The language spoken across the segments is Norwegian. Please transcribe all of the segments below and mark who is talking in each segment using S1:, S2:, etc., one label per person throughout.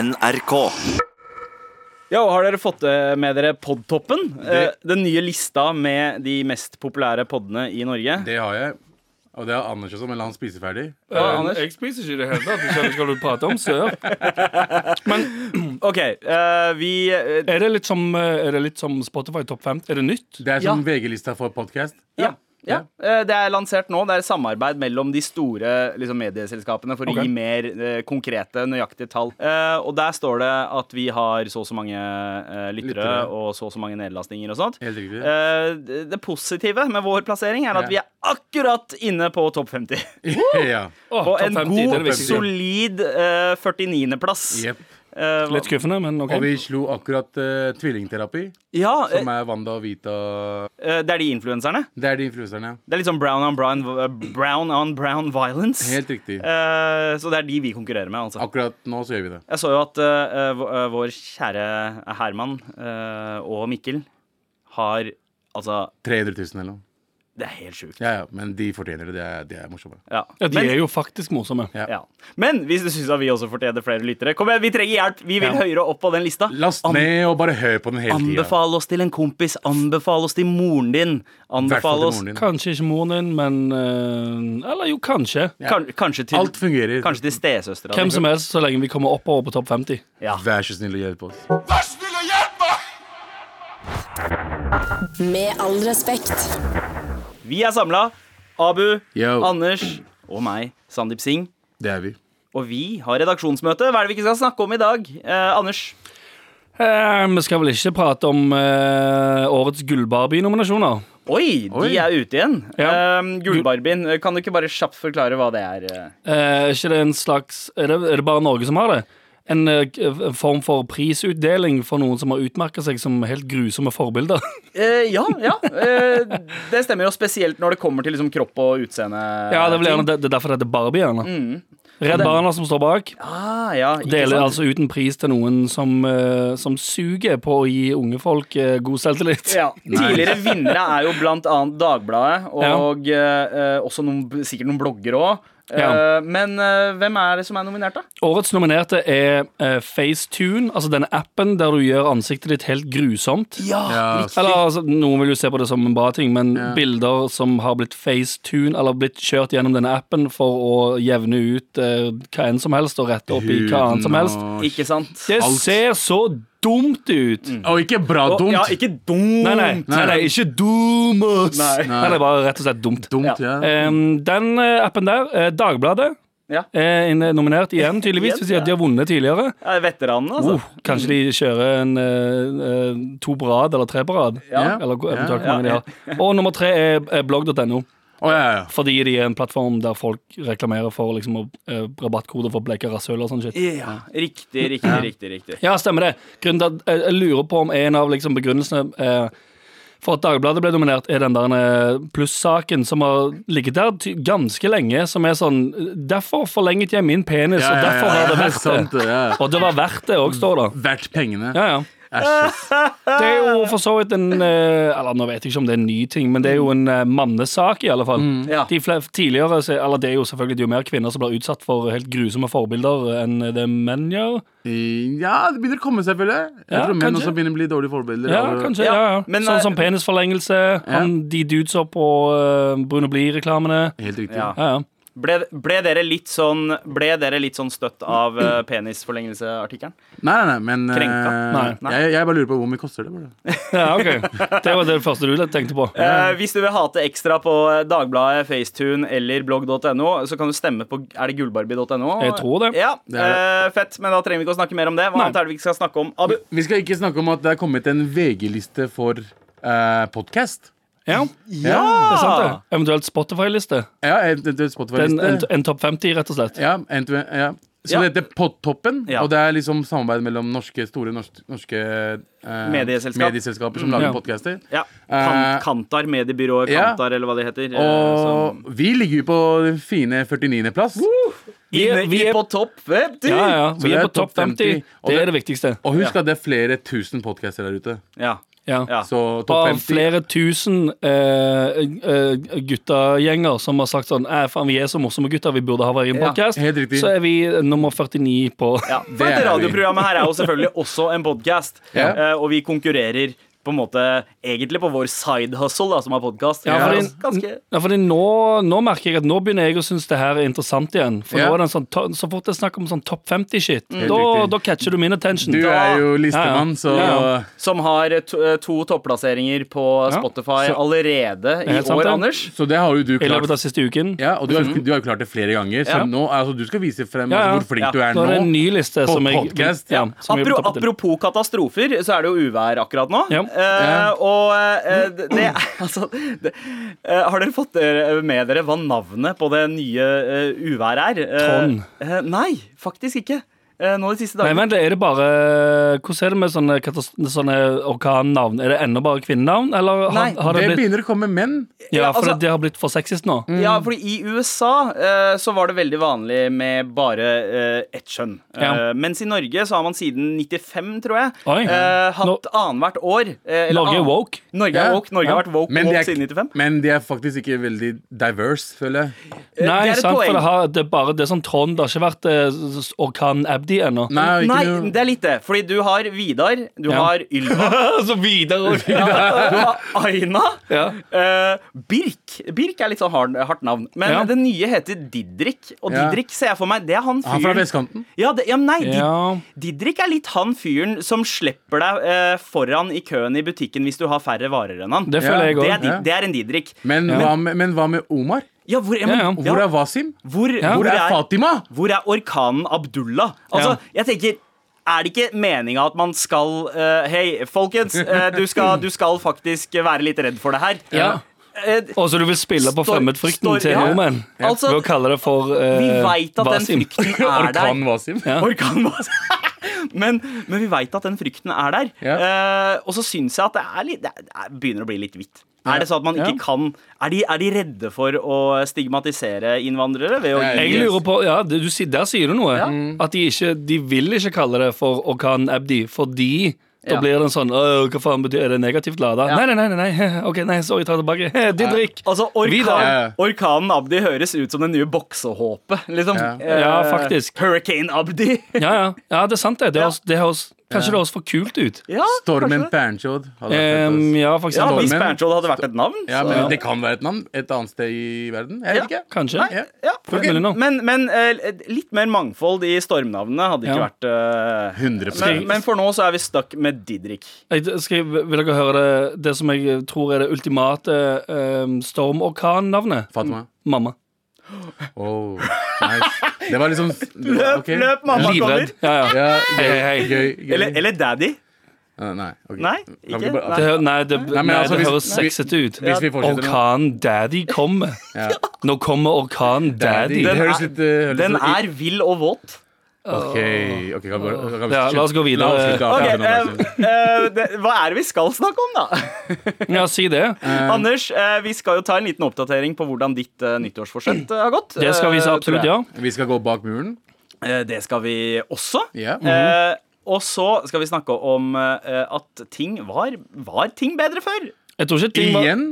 S1: NRK.
S2: Jo, har dere fått eh, med dere Podtoppen? Eh,
S3: Det-
S2: Den nye lista med de mest populære podene i Norge.
S3: Det har jeg. Og det har Anders også, men la han spise ferdig.
S2: Ja, Anders?
S4: Eh, jeg spiser ikke i det hele tatt. Hvis jeg skal prate om sør.
S2: OK, eh, vi eh,
S4: Er det litt som, eh, er det litt som Spotify Topp 50? Er det nytt?
S3: Det er som VG-lista for podkast.
S2: Ja. ja. Eh, Det er lansert nå. Det er samarbeid mellom de store liksom, medieselskapene for
S4: Ok.
S2: å gi mer eh, konkrete, nøyaktige tall. Eh, og der står det at vi har så og så mange eh, lyttere
S3: Lyttere.
S2: og så og så mange nedlastninger og sånt.
S3: Helt riktig.
S2: Eh, det det positive med vår plassering er at
S3: Ja.
S2: vi er akkurat inne på topp 50.
S3: ja.
S4: Å,
S2: På
S4: topp
S2: en
S4: 50, det er
S2: god,
S4: det viktigste.
S2: solid eh, 49.-plass.
S3: Jepp.
S2: Eh,
S4: Litt skuffende, men OK.
S3: Og vi slo akkurat eh, tvillingterapi,
S2: ja, eh,
S3: som er Wanda og Vita
S2: eh, det er de influenserne.
S3: Det er de influenserne.
S2: Det er litt sånn brown on brown, brown, on brown violence.
S3: Helt riktig.
S2: Eh, så det er de vi konkurrerer med, altså.
S3: Akkurat nå så gjør vi det.
S2: Jeg så jo at eh, v- eh, vår kjære Herman eh, og Mikkel har Altså,
S3: 300 000 eller noe.
S2: det er helt sjukt.
S3: Ja, ja, men de fortjener det. De er, de er morsomme.
S2: Ja.
S4: Ja, de
S2: Men,
S4: er jo faktisk morsomme.
S3: Ja.
S2: ja. Men hvis du syns at vi også fortjener flere lyttere, kom igjen, vi trenger hjelp! Vi vil
S4: Ja.
S2: høyere opp på den lista.
S3: Last
S2: An-
S3: ned og bare hør på den hele tida.
S2: Anbefal oss til en kompis. Anbefal oss til moren din.
S3: Hvertfall
S2: Anbefal
S3: til
S2: oss
S3: moren din.
S4: Kanskje ikke moren din, men eh, Eller jo, kanskje.
S2: kan, kanskje til,
S3: Alt fungerer.
S2: kanskje til stesøstera
S4: Hvem som helst, så lenge vi kommer oppover på topp 50.
S2: Ja.
S3: Vær så snill og hjelp oss.
S5: Med all respekt.
S2: Vi er samla. Abu,
S3: Yo.
S2: Anders og meg, Sandeep Singh.
S3: Det er vi.
S2: Og vi har redaksjonsmøte. Hva er det vi ikke skal snakke om i dag? Eh, Anders.
S4: Eh, vi skal vel ikke prate om eh, årets Gullbarbie-nominasjoner.
S2: Oi,
S3: Oi.
S2: de er ute igjen.
S4: Ja.
S2: Um, Gullbarbien, kan du ikke bare kjapt forklare hva det er?
S4: Eh, Er ikke det en slags er det, er det bare Norge som har det? En eh, k- en form for prisutdeling for noen som har utmerka seg som helt grusomme forbilder.
S2: Eh, ja, ja. eh, det stemmer jo spesielt når det kommer til liksom, kropp og utseende.
S4: Ja, Det er, vel gjerne, det, det er derfor det heter Barbie. gjerne Redd Barna som står bak,
S2: Ah, ja, ikke
S4: deler
S2: sant?
S4: altså ut en pris til noen som, eh, som suger på å gi unge folk eh, god selvtillit.
S2: Ja. Tidligere vinnere er jo blant annet Dagbladet og eh, eh, også noen, sikkert noen blogger òg.
S4: Ja.
S2: Men eh, hvem er det som er nominert, da?
S4: Årets nominerte er eh, FaceTune, altså denne appen der du gjør ansiktet ditt helt grusomt.
S2: Ah,
S3: Ja,
S4: Eller altså, Noen vil jo se på det som en bra ting, men bilder som har blitt facetune, eller blitt kjørt gjennom denne appen for å jevne ut eh, hva enn som helst, og rette opp i hva
S3: huden
S4: annet som helst.
S3: og-
S2: Ikke sant?
S4: Det
S3: alt. Mm.
S4: ser så dumt ut!
S3: Og ikke bra
S2: Og-
S3: dumt.
S2: Ja, ikke dumt.
S4: Nei, nei, nei, nei, ikke dumt!
S2: Nei.
S4: Nei. det er bare rett og slett dumt.
S3: Dumt, ja.
S4: Em, den eh, appen der, eh, Dagbladet,
S2: Ja.
S4: er inne- nominert igjen, tydeligvis.
S2: Igjen,
S4: Hvis de at de har vunnet tidligere.
S2: Ja, Veteranene, altså.
S4: Oh, kanskje de kjører en eh, eh, to på rad eller tre på rad.
S3: Ja.
S4: Eller
S3: Ja.
S4: eventuelt hvor mange de har. Og nummer tre er eh, blogg.no,
S3: Å, ja, ja.
S4: fordi de er en plattform der folk reklamerer for liksom, å, eh, rabattkoder for bleika rasshøl og sånn shit.
S2: Ja, riktig, riktig, riktig. riktig
S4: Ja, stemmer det. Grunnen til at eh, jeg, jeg lurer på om en av liksom, begrunnelsene eh, for at Dagbladet ble dominert, er den der eh, plussaken som har ligget der ty ganske lenge, som er sånn Derfor forlenget jeg min penis,
S3: Ja, ja,
S4: og
S3: ja,
S4: derfor har det eh,
S3: ja, sånn. sant
S4: vært det.
S3: det, ja.
S4: Og det var verdt det òg, står det.
S3: Verdt pengene.
S4: Ja, Eh. ja.
S3: Æsj. ass.
S4: Det er jo for så vidt en eh, Eller nå vet jeg ikke om det er en ny ting, men det er jo en eh, mannesak, i alle fall.
S3: Mm.
S2: Ja.
S4: De fle- tidligere, så- eller Det er jo selvfølgelig det er jo mer kvinner som blir utsatt for helt grusomme forbilder enn det menn gjør.
S3: Ja, det begynner å komme seg, føler jeg. Jeg
S4: Ja,
S3: tror menn
S4: kanskje.
S3: også begynner å bli dårlige forbilder. altså,
S4: Ja,
S3: Og-
S4: kanskje,
S2: Ja,
S4: ja, ja.
S2: men, eh,
S4: Sånn som penisforlengelse, han, de dudesa på eh, Bruno Blie-reklamene.
S3: Helt riktig.
S2: Ja.
S4: Ja, ja.
S2: Ble, ble, dere litt sånn, ble dere litt sånn støtt av eh, penisforlengelseartikkelen?
S3: Nei, nei, nei, men eh,
S2: Krenka?
S4: Nei.
S2: Nei.
S3: Jeg, jeg bare lurer på hvor mye koster det. Bare.
S4: ja, ok. Det var det første du tenkte på.
S2: Eh, hvis du vil hate ekstra på eh, Dagbladet, Facetune eller blogg.no, så kan du stemme på Er det gullbarbie.no?
S4: Jeg tror det.
S2: Ja,
S3: Det er
S2: eh, Fett, men da trenger vi ikke å snakke mer om det. Hva
S4: Nei.
S2: annet er det vi ikke skal snakke om? Abu?
S3: Vi skal ikke snakke om at det er kommet en VG-liste for eh, podkast.
S4: Ja,
S3: Ja.
S4: det er sant det. Eventuelt Spotify-liste.
S3: Ja, en, en
S4: En,
S3: Spotify-liste.
S4: en, en topp 50, rett og slett.
S3: Ja, en, ja. Så
S2: Ja.
S3: det heter Podtoppen,
S2: Ja.
S3: og det er liksom samarbeid mellom norske, store norske, norske eh,
S2: Medieselskap.
S3: medieselskaper som lager
S4: Ja.
S3: podcaster.
S2: Ja. Kan,
S3: Eh,
S2: Kantar, mediebyrået
S3: ja.
S2: Kantar, eller hva det heter. eh,
S3: Og
S2: som-
S3: vi ligger jo på den fine 49. plass.
S4: Vi er-
S2: Inne
S4: vi
S2: i
S4: er-
S2: på topp web, du!
S4: Ja, ja.
S3: Så
S4: Vi
S3: det
S4: er
S3: er
S4: på
S3: topp
S4: topp
S3: 50,
S4: 50.
S3: og
S4: Det
S3: det-
S4: er det viktigste.
S3: Og husk at det er flere tusen podcaster der ute.
S2: Ja.
S4: Ja.
S2: Ja.
S3: Så topp
S4: Av
S3: 50
S4: flere tusen eh, eh, guttegjenger som har sagt sånn «Eh, faen, vi er så morsomme gutter, vi burde ha vår egen
S2: Ja,
S4: podcast
S3: helt riktig.
S4: Så er vi nummer 49 på
S2: Ja, for
S3: Det er
S2: dette
S3: vi.
S2: radioprogrammet her er jo selvfølgelig også en podcast
S3: Ja.
S2: eh, Og vi konkurrerer på en måte egentlig på vår side hustle da, som er podcast
S4: Ja,
S2: Det er
S4: fordi-
S2: ganske...
S4: Ja, fordi nå, nå merker jeg at nå begynner jeg å synes det her er interessant igjen. For
S3: Ja. Mm.
S4: nå er det en sånn, to- Så fort det er snakk om sånn topp 50-shit,
S3: Helt
S4: da,
S3: riktig.
S4: da catcher du min attention.
S3: Du
S4: Da-
S3: er jo listemann, så
S4: Ja,
S2: Som har to, eh, to topplasseringer på
S4: Ja,
S2: Spotify
S3: så-
S2: allerede i
S4: Helt sant,
S2: år,
S4: det.
S2: Anders
S3: Så det har jo du
S4: I løpet
S3: klart.
S4: av siste uken.
S3: Ja, og du
S2: Mm.
S3: har, du har jo klart det flere ganger, så
S4: Ja.
S3: nå, altså, du skal vise frem
S4: Ja, ja.
S3: hvor flink
S2: Ja.
S3: du er
S4: Da er det en
S3: nå.
S4: ny liste
S3: På
S4: som jeg
S3: podcast,
S4: ja,
S3: ja.
S4: som jeg
S2: Apro,
S4: vil toppe til.
S2: apropos katastrofer, så er det jo uvær akkurat nå.
S4: Ja.
S2: Eh, og eh, det det er altså det, eh, Har dere fått dere- med dere hva navnet på det nye eh, uværet er? Eh,
S4: Trond.
S2: eh, nei, faktisk ikke. Eh, nå de siste
S4: Nei,
S2: dagene.
S4: vent, er det bare Hvordan er det med sånne, katas- sånne orkannavn? Er det ennå bare kvinnenavn, eller har,
S2: Nei,
S4: har
S3: Det
S4: det blitt
S3: begynner å komme menn.
S4: Ja,
S2: Ja,
S4: for
S2: altså- Mm,
S4: det har blitt for sexist nå.
S2: Ja, fordi i USA eh, så var det veldig vanlig med bare eh, ett kjønn. Eh,
S4: Ja.
S2: mens i Norge så har man siden 95, tror jeg,
S4: Oi. Mm.
S2: eh, hatt
S4: Nå-
S2: annethvert år. eh, eller
S4: Norge
S2: ann-
S4: er woke.
S2: Norge er
S3: Ja.
S2: woke. Norge
S3: Ja.
S2: har vært woke,
S3: Men de
S2: woke
S3: er-
S2: siden 95.
S3: Men de er faktisk ikke veldig diverse, føler jeg.
S2: Eh,
S4: Nei,
S2: det er et
S4: sant,
S2: poeng.
S4: for det, har, det er bare det er sånn Trond. Det har ikke vært eh, s- s- Orkan Abdi ennå.
S3: Nei, ikke
S2: Nei,
S3: noe-
S2: det er litt det. Fordi du har Vidar, du
S4: Ja.
S2: har Ylva,
S4: Så videre og
S2: du
S4: videre.
S2: har Aina.
S4: Ja.
S2: eh, Birk. Birk er litt sånn hard, hardt navn. Men
S4: Ja.
S2: den nye heter Didrik. Og
S3: Ja.
S2: Didrik ser jeg for meg, det er han
S3: Han er fra
S2: fyren
S3: vestkanten.
S2: ja, det, ja, men nei, Did-
S4: Ja.
S2: Didrik er litt han fyren som slipper deg eh, foran i køen i butikken hvis du har færre varer enn han.
S4: Det
S3: Ja,
S4: føler jeg
S2: Det er,
S4: òg.
S2: di,
S3: Ja.
S2: det er en Didrik.
S3: Men, hva med, men hva med Omar?
S2: Ja, hvor, ja,
S4: Ja,
S2: men,
S4: ja.
S3: Hvor
S2: ja,
S3: er Wasim?
S2: hvor,
S3: Hvor er Fatima?
S2: Hvor er orkanen Abdullah? Altså, jeg tenker er det ikke meninga at man skal eh, Hei, folkens, eh, du, skal, du skal faktisk være litt redd for det her.
S4: Ja.
S2: Eh,
S4: Og så du vil spille på
S2: Står-
S4: fremmedfrykten
S2: står-
S4: til
S2: ja.
S4: nordmenn
S2: Altså,
S4: ved å kalle det for eh,
S2: vi veit at den
S4: Wasim.
S2: frykten er der.
S3: Orkan Wasim.
S4: Ja.
S2: Orkan Wasim. Men, men vi veit at den frykten er der. Eh, og så syns jeg at det, er litt, det er- det er- begynner å bli litt hvitt. Er det sånn at man ikke
S4: Ja.
S2: kan er de, er de redde for å stigmatisere innvandrere? Ved å
S3: Jeg
S4: Jeg
S2: gi-
S4: lurer på, ja, det, du, sier- Der sier du noe. At de, ikke, de vil ikke kalle det for Orkan Abdi, fordi da
S2: Ja.
S4: blir det en sånn «Åh, Hva faen betyr Er det negativt lada? Nei, nei, nei. nei, nei. Ok, nei, sorry, ta det tilbake. Didrik.
S2: Altså, orkan,
S3: Vidar.
S2: Orkanen Abdi høres ut som den nye boksehåpet. Liksom.
S3: Ja.
S2: Eh,
S4: Ja, faktisk.
S2: Hurricane Abdi.
S4: Ja, ja. ja, det er sant, det. det høres, det høres, kanskje det høres for kult ut.
S2: Ja,
S3: Stormen
S2: kanskje det.
S3: Panchod. hadde vært fett,
S4: Ehm,
S3: ass.
S4: ja,
S2: Ja,
S4: for eksempel.
S2: Hvis
S3: men-
S2: Panchod hadde vært et navn,
S3: Ja,
S2: så-
S3: men Det kan være et navn et annet sted i verden. Jeg vet
S2: Ja.
S3: ikke.
S4: Kanskje.
S3: Ja.
S2: ja.
S4: Fullt mulig nå.
S2: Men, men eh, litt mer mangfold i stormnavnene hadde ikke
S4: Ja.
S2: vært eh,
S3: 100
S2: men, men for nå så er vi stuck med Didrik.
S4: Jeg, skal, jeg- vil dere høre det, det som jeg tror er det ultimate ehm, stormorkan-navnet?
S3: Fatima.
S4: Mamma.
S3: Oh, nice. Det var liksom
S2: Løp,
S3: ok.
S2: løp, mamma kommer!
S4: Livredd. Ja, ja.
S3: Ja, gøy,
S4: Hei, hei.
S3: gøy, gøy.
S2: Eller, eller Daddy.
S3: Eh, Nei. ok.
S2: Nei,
S3: Kan
S2: ikke?
S3: vi bare-
S4: Det, hø- nei, det, nei,
S3: men altså,
S4: det
S3: hvis-
S4: høres
S3: vi-
S4: sexete ut.
S3: Hvis vi fortsetter nå.
S4: Orkan Daddy kommer.
S3: Ja.
S4: Nå kommer Orkan
S3: Det
S4: Daddy.
S2: Den
S3: høres
S2: er-
S3: litt eh, høres
S2: Den
S3: litt-
S2: er vill og våt.
S3: Ok, ok, kan vi, bare- kan vi
S4: Ja, la oss gå videre.
S3: La oss slutte av-
S2: Ok,
S3: ja, nå,
S2: eh, eh, det, Hva er det vi skal snakke om, da?
S4: Ja, si det.
S2: Anders, eh, vi skal jo ta en liten oppdatering på hvordan ditt eh, nyttårsforsett eh, har gått.
S4: Det skal vi
S2: eh,
S4: så absolutt,
S2: tror jeg.
S4: ja.
S3: Vi skal gå bak muren.
S2: Eh, det skal vi også.
S3: Ja.
S2: Eh, og så skal vi snakke om eh, at ting var, var ting bedre før.
S4: Jeg tror ikke ting var
S3: Igjen?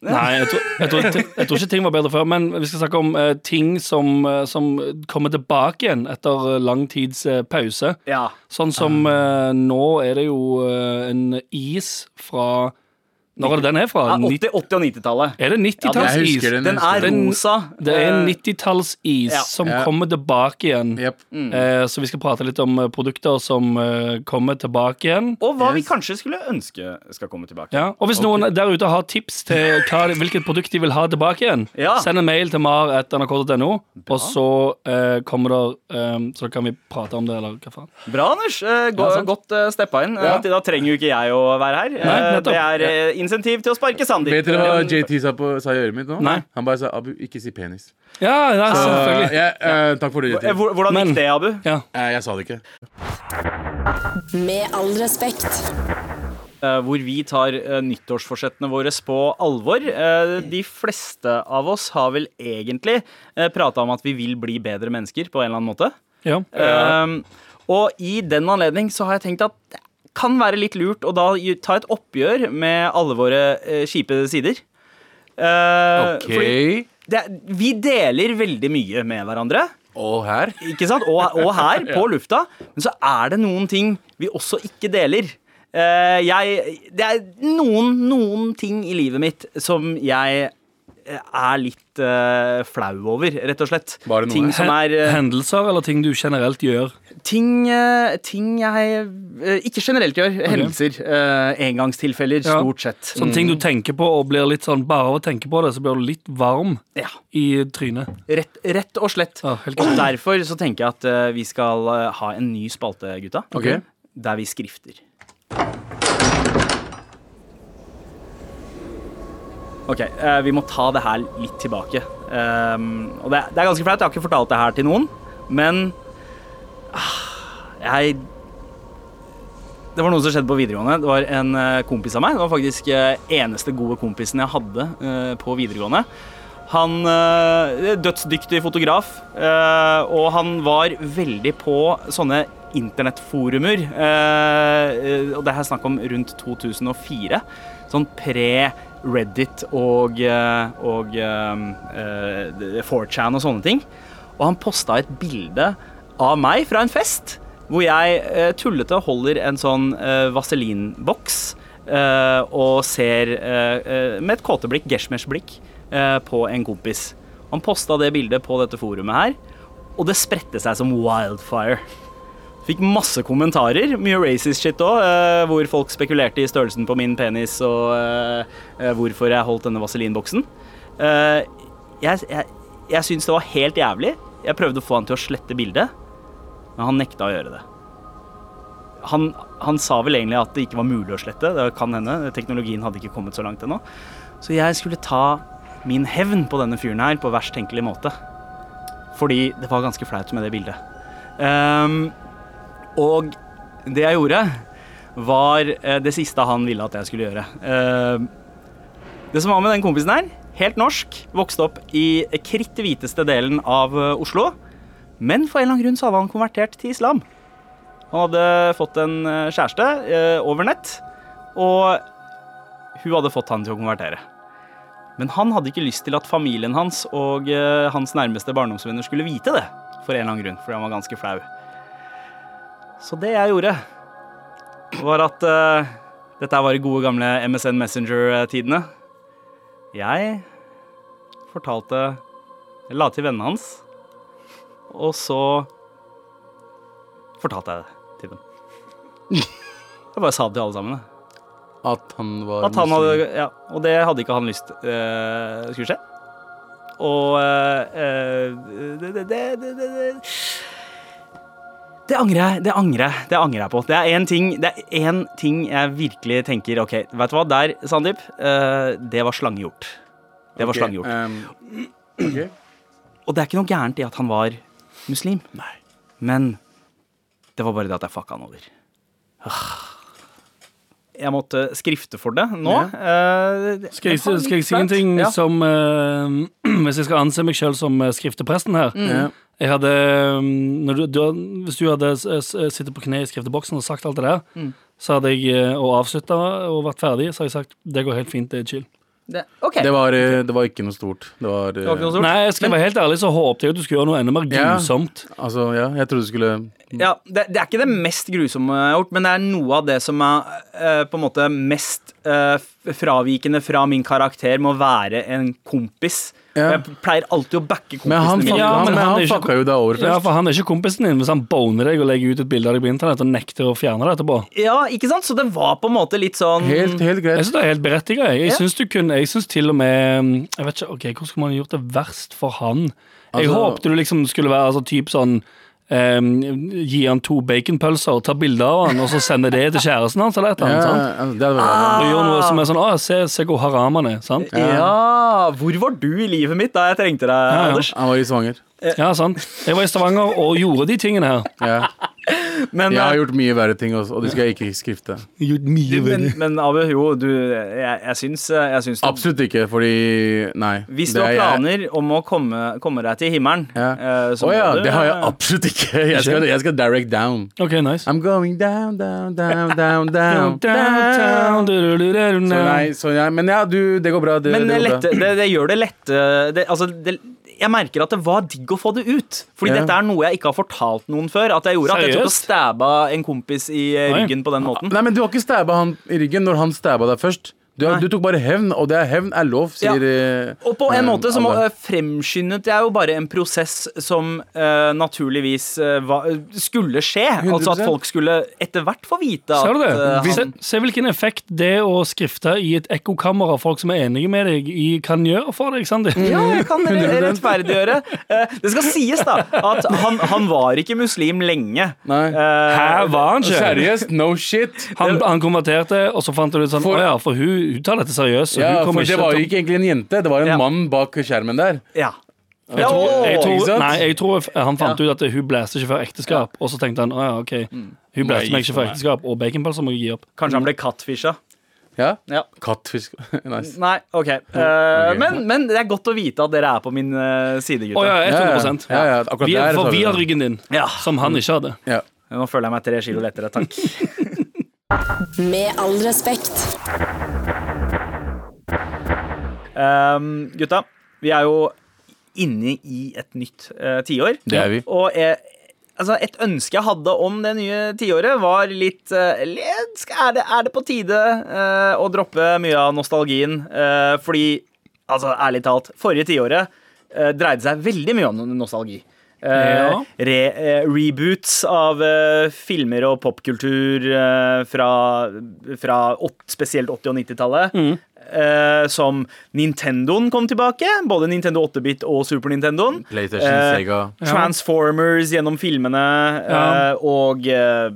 S4: Nei, jeg tror, jeg, tror, jeg tror ikke ting var bedre før, men vi skal snakke om eh, ting som, eh, som kommer tilbake igjen etter eh, lang tids eh, pause.
S2: Ja.
S4: Sånn som eh, nå er det jo eh, en is fra Når er det den er fra?
S2: Ja, 80-,
S4: Nitt-
S2: 80- og 90-tallet.
S4: Er det
S3: Jeg
S4: 90-tallsis?
S3: husker den.
S2: Den er
S4: Den-
S2: rosa.
S4: Det er en
S2: Eh,
S4: 90-tallsis
S2: Ja.
S4: som
S3: Ja.
S4: kommer tilbake igjen.
S3: Jep.
S4: Eh, så vi skal prate litt om eh, produkter som eh, kommer tilbake igjen.
S2: og hva vi
S3: Yes.
S2: kanskje skulle ønske skal komme tilbake.
S4: Ja, og hvis noen der ute har tips til hva, hvilket produkt de vil ha tilbake igjen,
S2: Ja.
S4: send en mail til mar.nrk.no, og så eh, kommer det eh, Så kan vi prate om det, eller hva faen.
S2: Bra, Anders. Eh, gå,
S4: Ja, sant.
S2: godt eh, steppa inn. Eh,
S3: Ja.
S2: Da trenger jo ikke jeg å være her. Eh,
S4: Nei, nettopp.
S2: det er eh, insentiv til å sparke Sandeep.
S3: Vet dere hva
S2: Eh,
S3: JT sa, på, sa i øret mitt nå?
S4: Nei.
S3: Han bare sa Abu, ikke si penis.
S4: Ja, ja
S3: Eh,
S4: selvfølgelig.
S3: ja, eh, takk for det, JT.
S2: eh, hvor- Hvordan
S4: Men-
S2: gikk det, Abu?
S4: Ja.
S3: Eh, jeg sa det ikke.
S1: Med all respekt.
S2: eh, hvor vi tar eh, nyttårsforsettene våre på alvor. Eh, de fleste av oss har vel egentlig uh, prata om at vi vil bli bedre mennesker på en eller annen måte.
S4: ja.
S2: Eh, og i den anledning så har jeg tenkt at det kan være litt lurt å da gi- ta et oppgjør med alle våre eh, kjipe sider. Eh,
S3: OK.
S2: fordi det, vi deler veldig mye med hverandre,
S3: Og her.
S2: ikke sant? Og, og her, på lufta. Men så er det noen ting vi også ikke deler. Eh, jeg, det er noen, noen ting i livet mitt som jeg eh, er litt eh, flau over, rett og slett.
S3: Bare noe.
S2: Ting som er eh,
S4: Hendelser eller ting du generelt gjør.
S2: ting, eh, ting jeg eh, ikke generelt gjør. Hendelser. eh, engangstilfeller,
S4: Ja.
S2: stort sett.
S4: Sånne ting du tenker på og blir litt sånn Bare av å tenke på det, så blir du litt varm
S2: Ja,
S4: i trynet.
S2: rett, rett og slett.
S4: Ja, helt
S2: og
S4: klart.
S2: derfor så tenker jeg at eh, vi skal eh, ha en ny spalte, gutta.
S3: Ok.
S2: Der vi skrifter. Ok, eh, vi må ta det her litt tilbake. Ehm, og det, det er ganske flaut, jeg har ikke fortalt det her til noen, men ah, jeg Det var noe som skjedde på videregående. Det var en eh, kompis av meg. Det var faktisk eh, eneste gode kompisen jeg hadde eh, på videregående. Han eh, Dødsdyktig fotograf, eh, og han var veldig på sånne internettforumer. eh, eh, Og det er her snakk om rundt 2004. Sånn pre-Reddit og, eh, og eh, eh, 4chan og sånne ting. Og han posta et bilde av meg fra en fest hvor jeg eh, tullete holder en sånn eh, vaselinboks eh, og ser eh, eh, med et kåteblikk, Geshmesh-blikk, eh, på en kompis. Han posta det bildet på dette forumet her, og det spredte seg som wildfire. Fikk masse kommentarer, mye racist shit òg, eh, hvor folk spekulerte i størrelsen på min penis og eh, eh, hvorfor jeg holdt denne vaselinboksen. Eh, jeg jeg, jeg syns det var helt jævlig. Jeg prøvde å få han til å slette bildet, men han nekta å gjøre det. Han, han sa vel egentlig at det ikke var mulig å slette. Det kan hende. Teknologien hadde ikke kommet så langt ennå. Så jeg skulle ta min hevn på denne fyren her på verst tenkelig måte. Fordi det var ganske flaut med det bildet. Ehm, og det jeg gjorde, var eh, det siste han ville at jeg skulle gjøre. Ehm, det som var med den kompisen her, helt norsk, vokste opp i kritt hviteste delen av eh, Oslo. Men for en eller annen grunn så hadde han konvertert til islam. Han hadde fått en eh, kjæreste eh, over nett, og hun hadde fått han til å konvertere. Men han hadde ikke lyst til at familien hans og eh, hans nærmeste barndomsvenner skulle vite det, for en eller annen grunn, fordi han var ganske flau. Så det jeg gjorde, var at eh, dette var i gode gamle MSN Messenger-tidene. Jeg fortalte Jeg la til vennene hans, og så fortalte jeg det til dem. Jeg bare sa det til alle sammen. jeg.
S3: At han var
S2: At han
S3: muslim.
S2: hadde, ja, og det hadde ikke han lyst eh, skulle skje. Og eh, eh, det, det, det, det, det, det. det angrer jeg det angrer jeg, det angrer jeg på. Det er én ting, det er én ting jeg virkelig tenker OK, vet du hva, der, Sandeep, eh, det var slangegjort. Det var
S3: Ok,
S2: slangegjort.
S3: ehm, ok.
S2: Og det er ikke noe gærent i at han var muslim. Men det var bare det at jeg fucka han over. Ah. Jeg måtte skrifte for det nå. Eh,
S4: Skal jeg,
S2: det var
S4: skal jeg si en
S2: litt
S4: ting
S2: flaut. Ja.
S4: som eh, Hvis jeg skal anse meg sjøl som eh, skriftepresten her
S2: Mm.
S3: Ja.
S4: Jeg hadde eh, når du, du, hadde- Hvis du hadde s- s- sittet på kne i skrifteboksen og sagt alt det der, så hadde jeg eh, og avslutta og vært ferdig, så hadde jeg sagt det går helt fint, det er chill.
S2: Det, ok.
S3: Det var, eh, det var ikke noe stort. Det var,
S2: Det var ikke noe stort.
S4: Nei, jeg skal være helt ærlig, så håpte jeg at du skulle gjøre noe enda mer
S3: Ja.
S4: grusomt.
S3: Altså, ja, jeg trodde du skulle
S2: Ja, det, det er ikke det mest grusomme jeg har gjort, men det er noe av det som er eh, på en måte mest eh, f- fravikende fra min karakter med å være en kompis.
S3: Ja.
S2: Jeg pleier alltid å backe
S3: Men han,
S2: kompisene mine.
S3: fucka-
S4: Ja,
S3: han,
S4: men
S3: men
S4: han er
S3: han
S4: ikke-
S3: fucka jo deg over
S4: Ja,
S3: først.
S4: for han er ikke kompisen din hvis han boner deg og legger ut et bilde av deg på internett og nekter å fjerne det etterpå.
S2: Ja, ikke sant? Så det var på en måte litt sånn
S3: Helt, helt
S4: Jeg
S3: greit.
S4: syns det er helt berettiget. Jeg, jeg
S2: Ja.
S4: synes du kunne Jeg synes til og med mm, Jeg vet ikke, ok, Hvordan skulle man gjort det verst for han? Jeg
S3: Altså-
S4: håpte du liksom skulle være altså, typ sånn ehm, Gi han to baconpølser, ta bilde av han, og så sende det til kjæresten hans. eller et
S3: Ja,
S4: eller annet, sant?
S3: altså, det hadde vært
S4: Og gjøre noe som er sånn Å, se, se hvor haram han er. sant?
S2: Ja, hvor var du i livet mitt da jeg trengte deg,
S4: ja.
S2: Anders?
S3: Han var i svanger.
S4: Ja, sant? Jeg var i Stavanger og gjorde de tingene her.
S3: Ja.
S2: Men,
S3: Jeg har
S2: eh,
S3: gjort mye verre ting også, og det skal jeg ikke skrifte.
S4: Gjort mye
S2: men, men Abu, jo, du, jeg, jeg syns, eh, jeg syns du,
S3: Absolutt ikke, fordi Nei.
S2: Hvis du
S3: det
S2: har
S3: er jeg-
S2: planer om å komme, komme deg til himmelen
S3: Ja.
S2: eh, så
S3: Å
S2: må
S3: ja,
S2: du-
S3: det har jeg absolutt ikke. Jeg skal, jeg skal direct down.
S4: OK, nice.
S3: I'm going down, down, down, down, down.
S4: Downtown,
S3: down.
S4: du-du-du-du-du-du.
S3: Så nei, så nei, men ja, du, det går bra. Det,
S2: Men
S3: det
S2: det,
S3: går
S2: lette,
S3: bra.
S2: det, det gjør det lette det, altså, det, Jeg merker at det var digg å få det ut. Fordi
S3: Ja.
S2: dette er noe jeg ikke har fortalt noen før. At jeg gjorde at jeg tok og
S4: Seriøst?
S2: stabba en kompis i eh,
S4: Oi.
S2: ryggen på den måten.
S3: Nei, men du har ikke stabba han i ryggen når han stabba deg først. Du,
S2: Nei.
S3: du tok bare hevn, og det er hevn er lov,
S2: Ja.
S3: sier eh,
S2: Og på en
S3: eh,
S2: måte så må,
S3: alle.
S2: eh, fremskyndet jeg jo bare en prosess som eh, naturligvis eh, va, skulle skje. Altså at
S3: 100%.
S2: folk skulle etter hvert få vite at
S4: Ser du
S2: eh,
S4: det? Se,
S2: han,
S4: se hvilken effekt det å skrifte i et ekkokammer av folk som er enige med deg, i, kan gjøre for deg. Sander.
S3: Mm.
S2: Ja, jeg kan re- rettferdiggjøre. Eh, Det skal sies, da, at han, han var ikke muslim lenge.
S3: Nei.
S2: Eh,
S4: Her var han ikke!
S3: Seriøst? No shit.
S4: Han, han konverterte, og så fant du ut sånn Å
S3: For-
S4: ja, for hun, hun tar dette seriøst. Så
S3: Ja,
S4: hun
S3: for
S4: kommer
S3: det
S4: ikke
S3: var jo
S4: til å-
S3: ikke egentlig en jente, det var en
S2: Ja.
S3: mann bak skjermen der.
S2: Ja.
S4: jeg
S3: ikke
S4: tror,
S3: sant?
S4: nei, jeg tror han fant ut at hun blæste ikke før ekteskap, og så tenkte han å ja, OK.
S2: Mm.
S4: Hun blæste meg ikke før ekteskap, og baconpølser må jeg gi opp.
S2: Kanskje han ble catfisha.
S3: Ja?
S2: Ja.
S3: Kattfisk. nice.
S2: Nei, OK. Eh,
S3: ok.
S2: Men, men det er godt å vite at dere er på min eh, side,
S4: Å
S2: gutter.
S4: ja,
S3: Ja, ja.
S4: 100
S3: Ja, ja, akkurat
S4: vi,
S3: der
S4: er-
S3: sa
S4: For
S3: du
S4: vi har
S3: det. sånn.
S4: ryggen din,
S2: Ja.
S4: som han ikke hadde.
S3: Ja.
S2: Nå føler jeg meg tre kilo lettere, takk.
S1: Med all respekt.
S2: Ehm, gutta, vi er jo inne i et nytt eh, tiår.
S3: Det er vi.
S2: Og eh, altså, et ønske jeg hadde om det nye tiåret, var litt eh, litt- skal- er, det, er det på tide eh, å droppe mye av nostalgien? Eh, fordi, altså, ærlig talt, forrige tiåret eh, dreide seg veldig mye om nostalgi. Eh,
S4: Ja.
S2: re, eh, reboots av eh, filmer og popkultur eh, fra, fra ått, spesielt 80- og 90-tallet.
S4: Mm.
S2: Eh, som Nintendoen kom tilbake. Både Nintendo 8-bit og Super Nintendoen.
S3: PlayStation,
S2: Eh,
S3: Sega.
S2: Transformers gjennom filmene
S4: Ja.
S2: eh, og eh,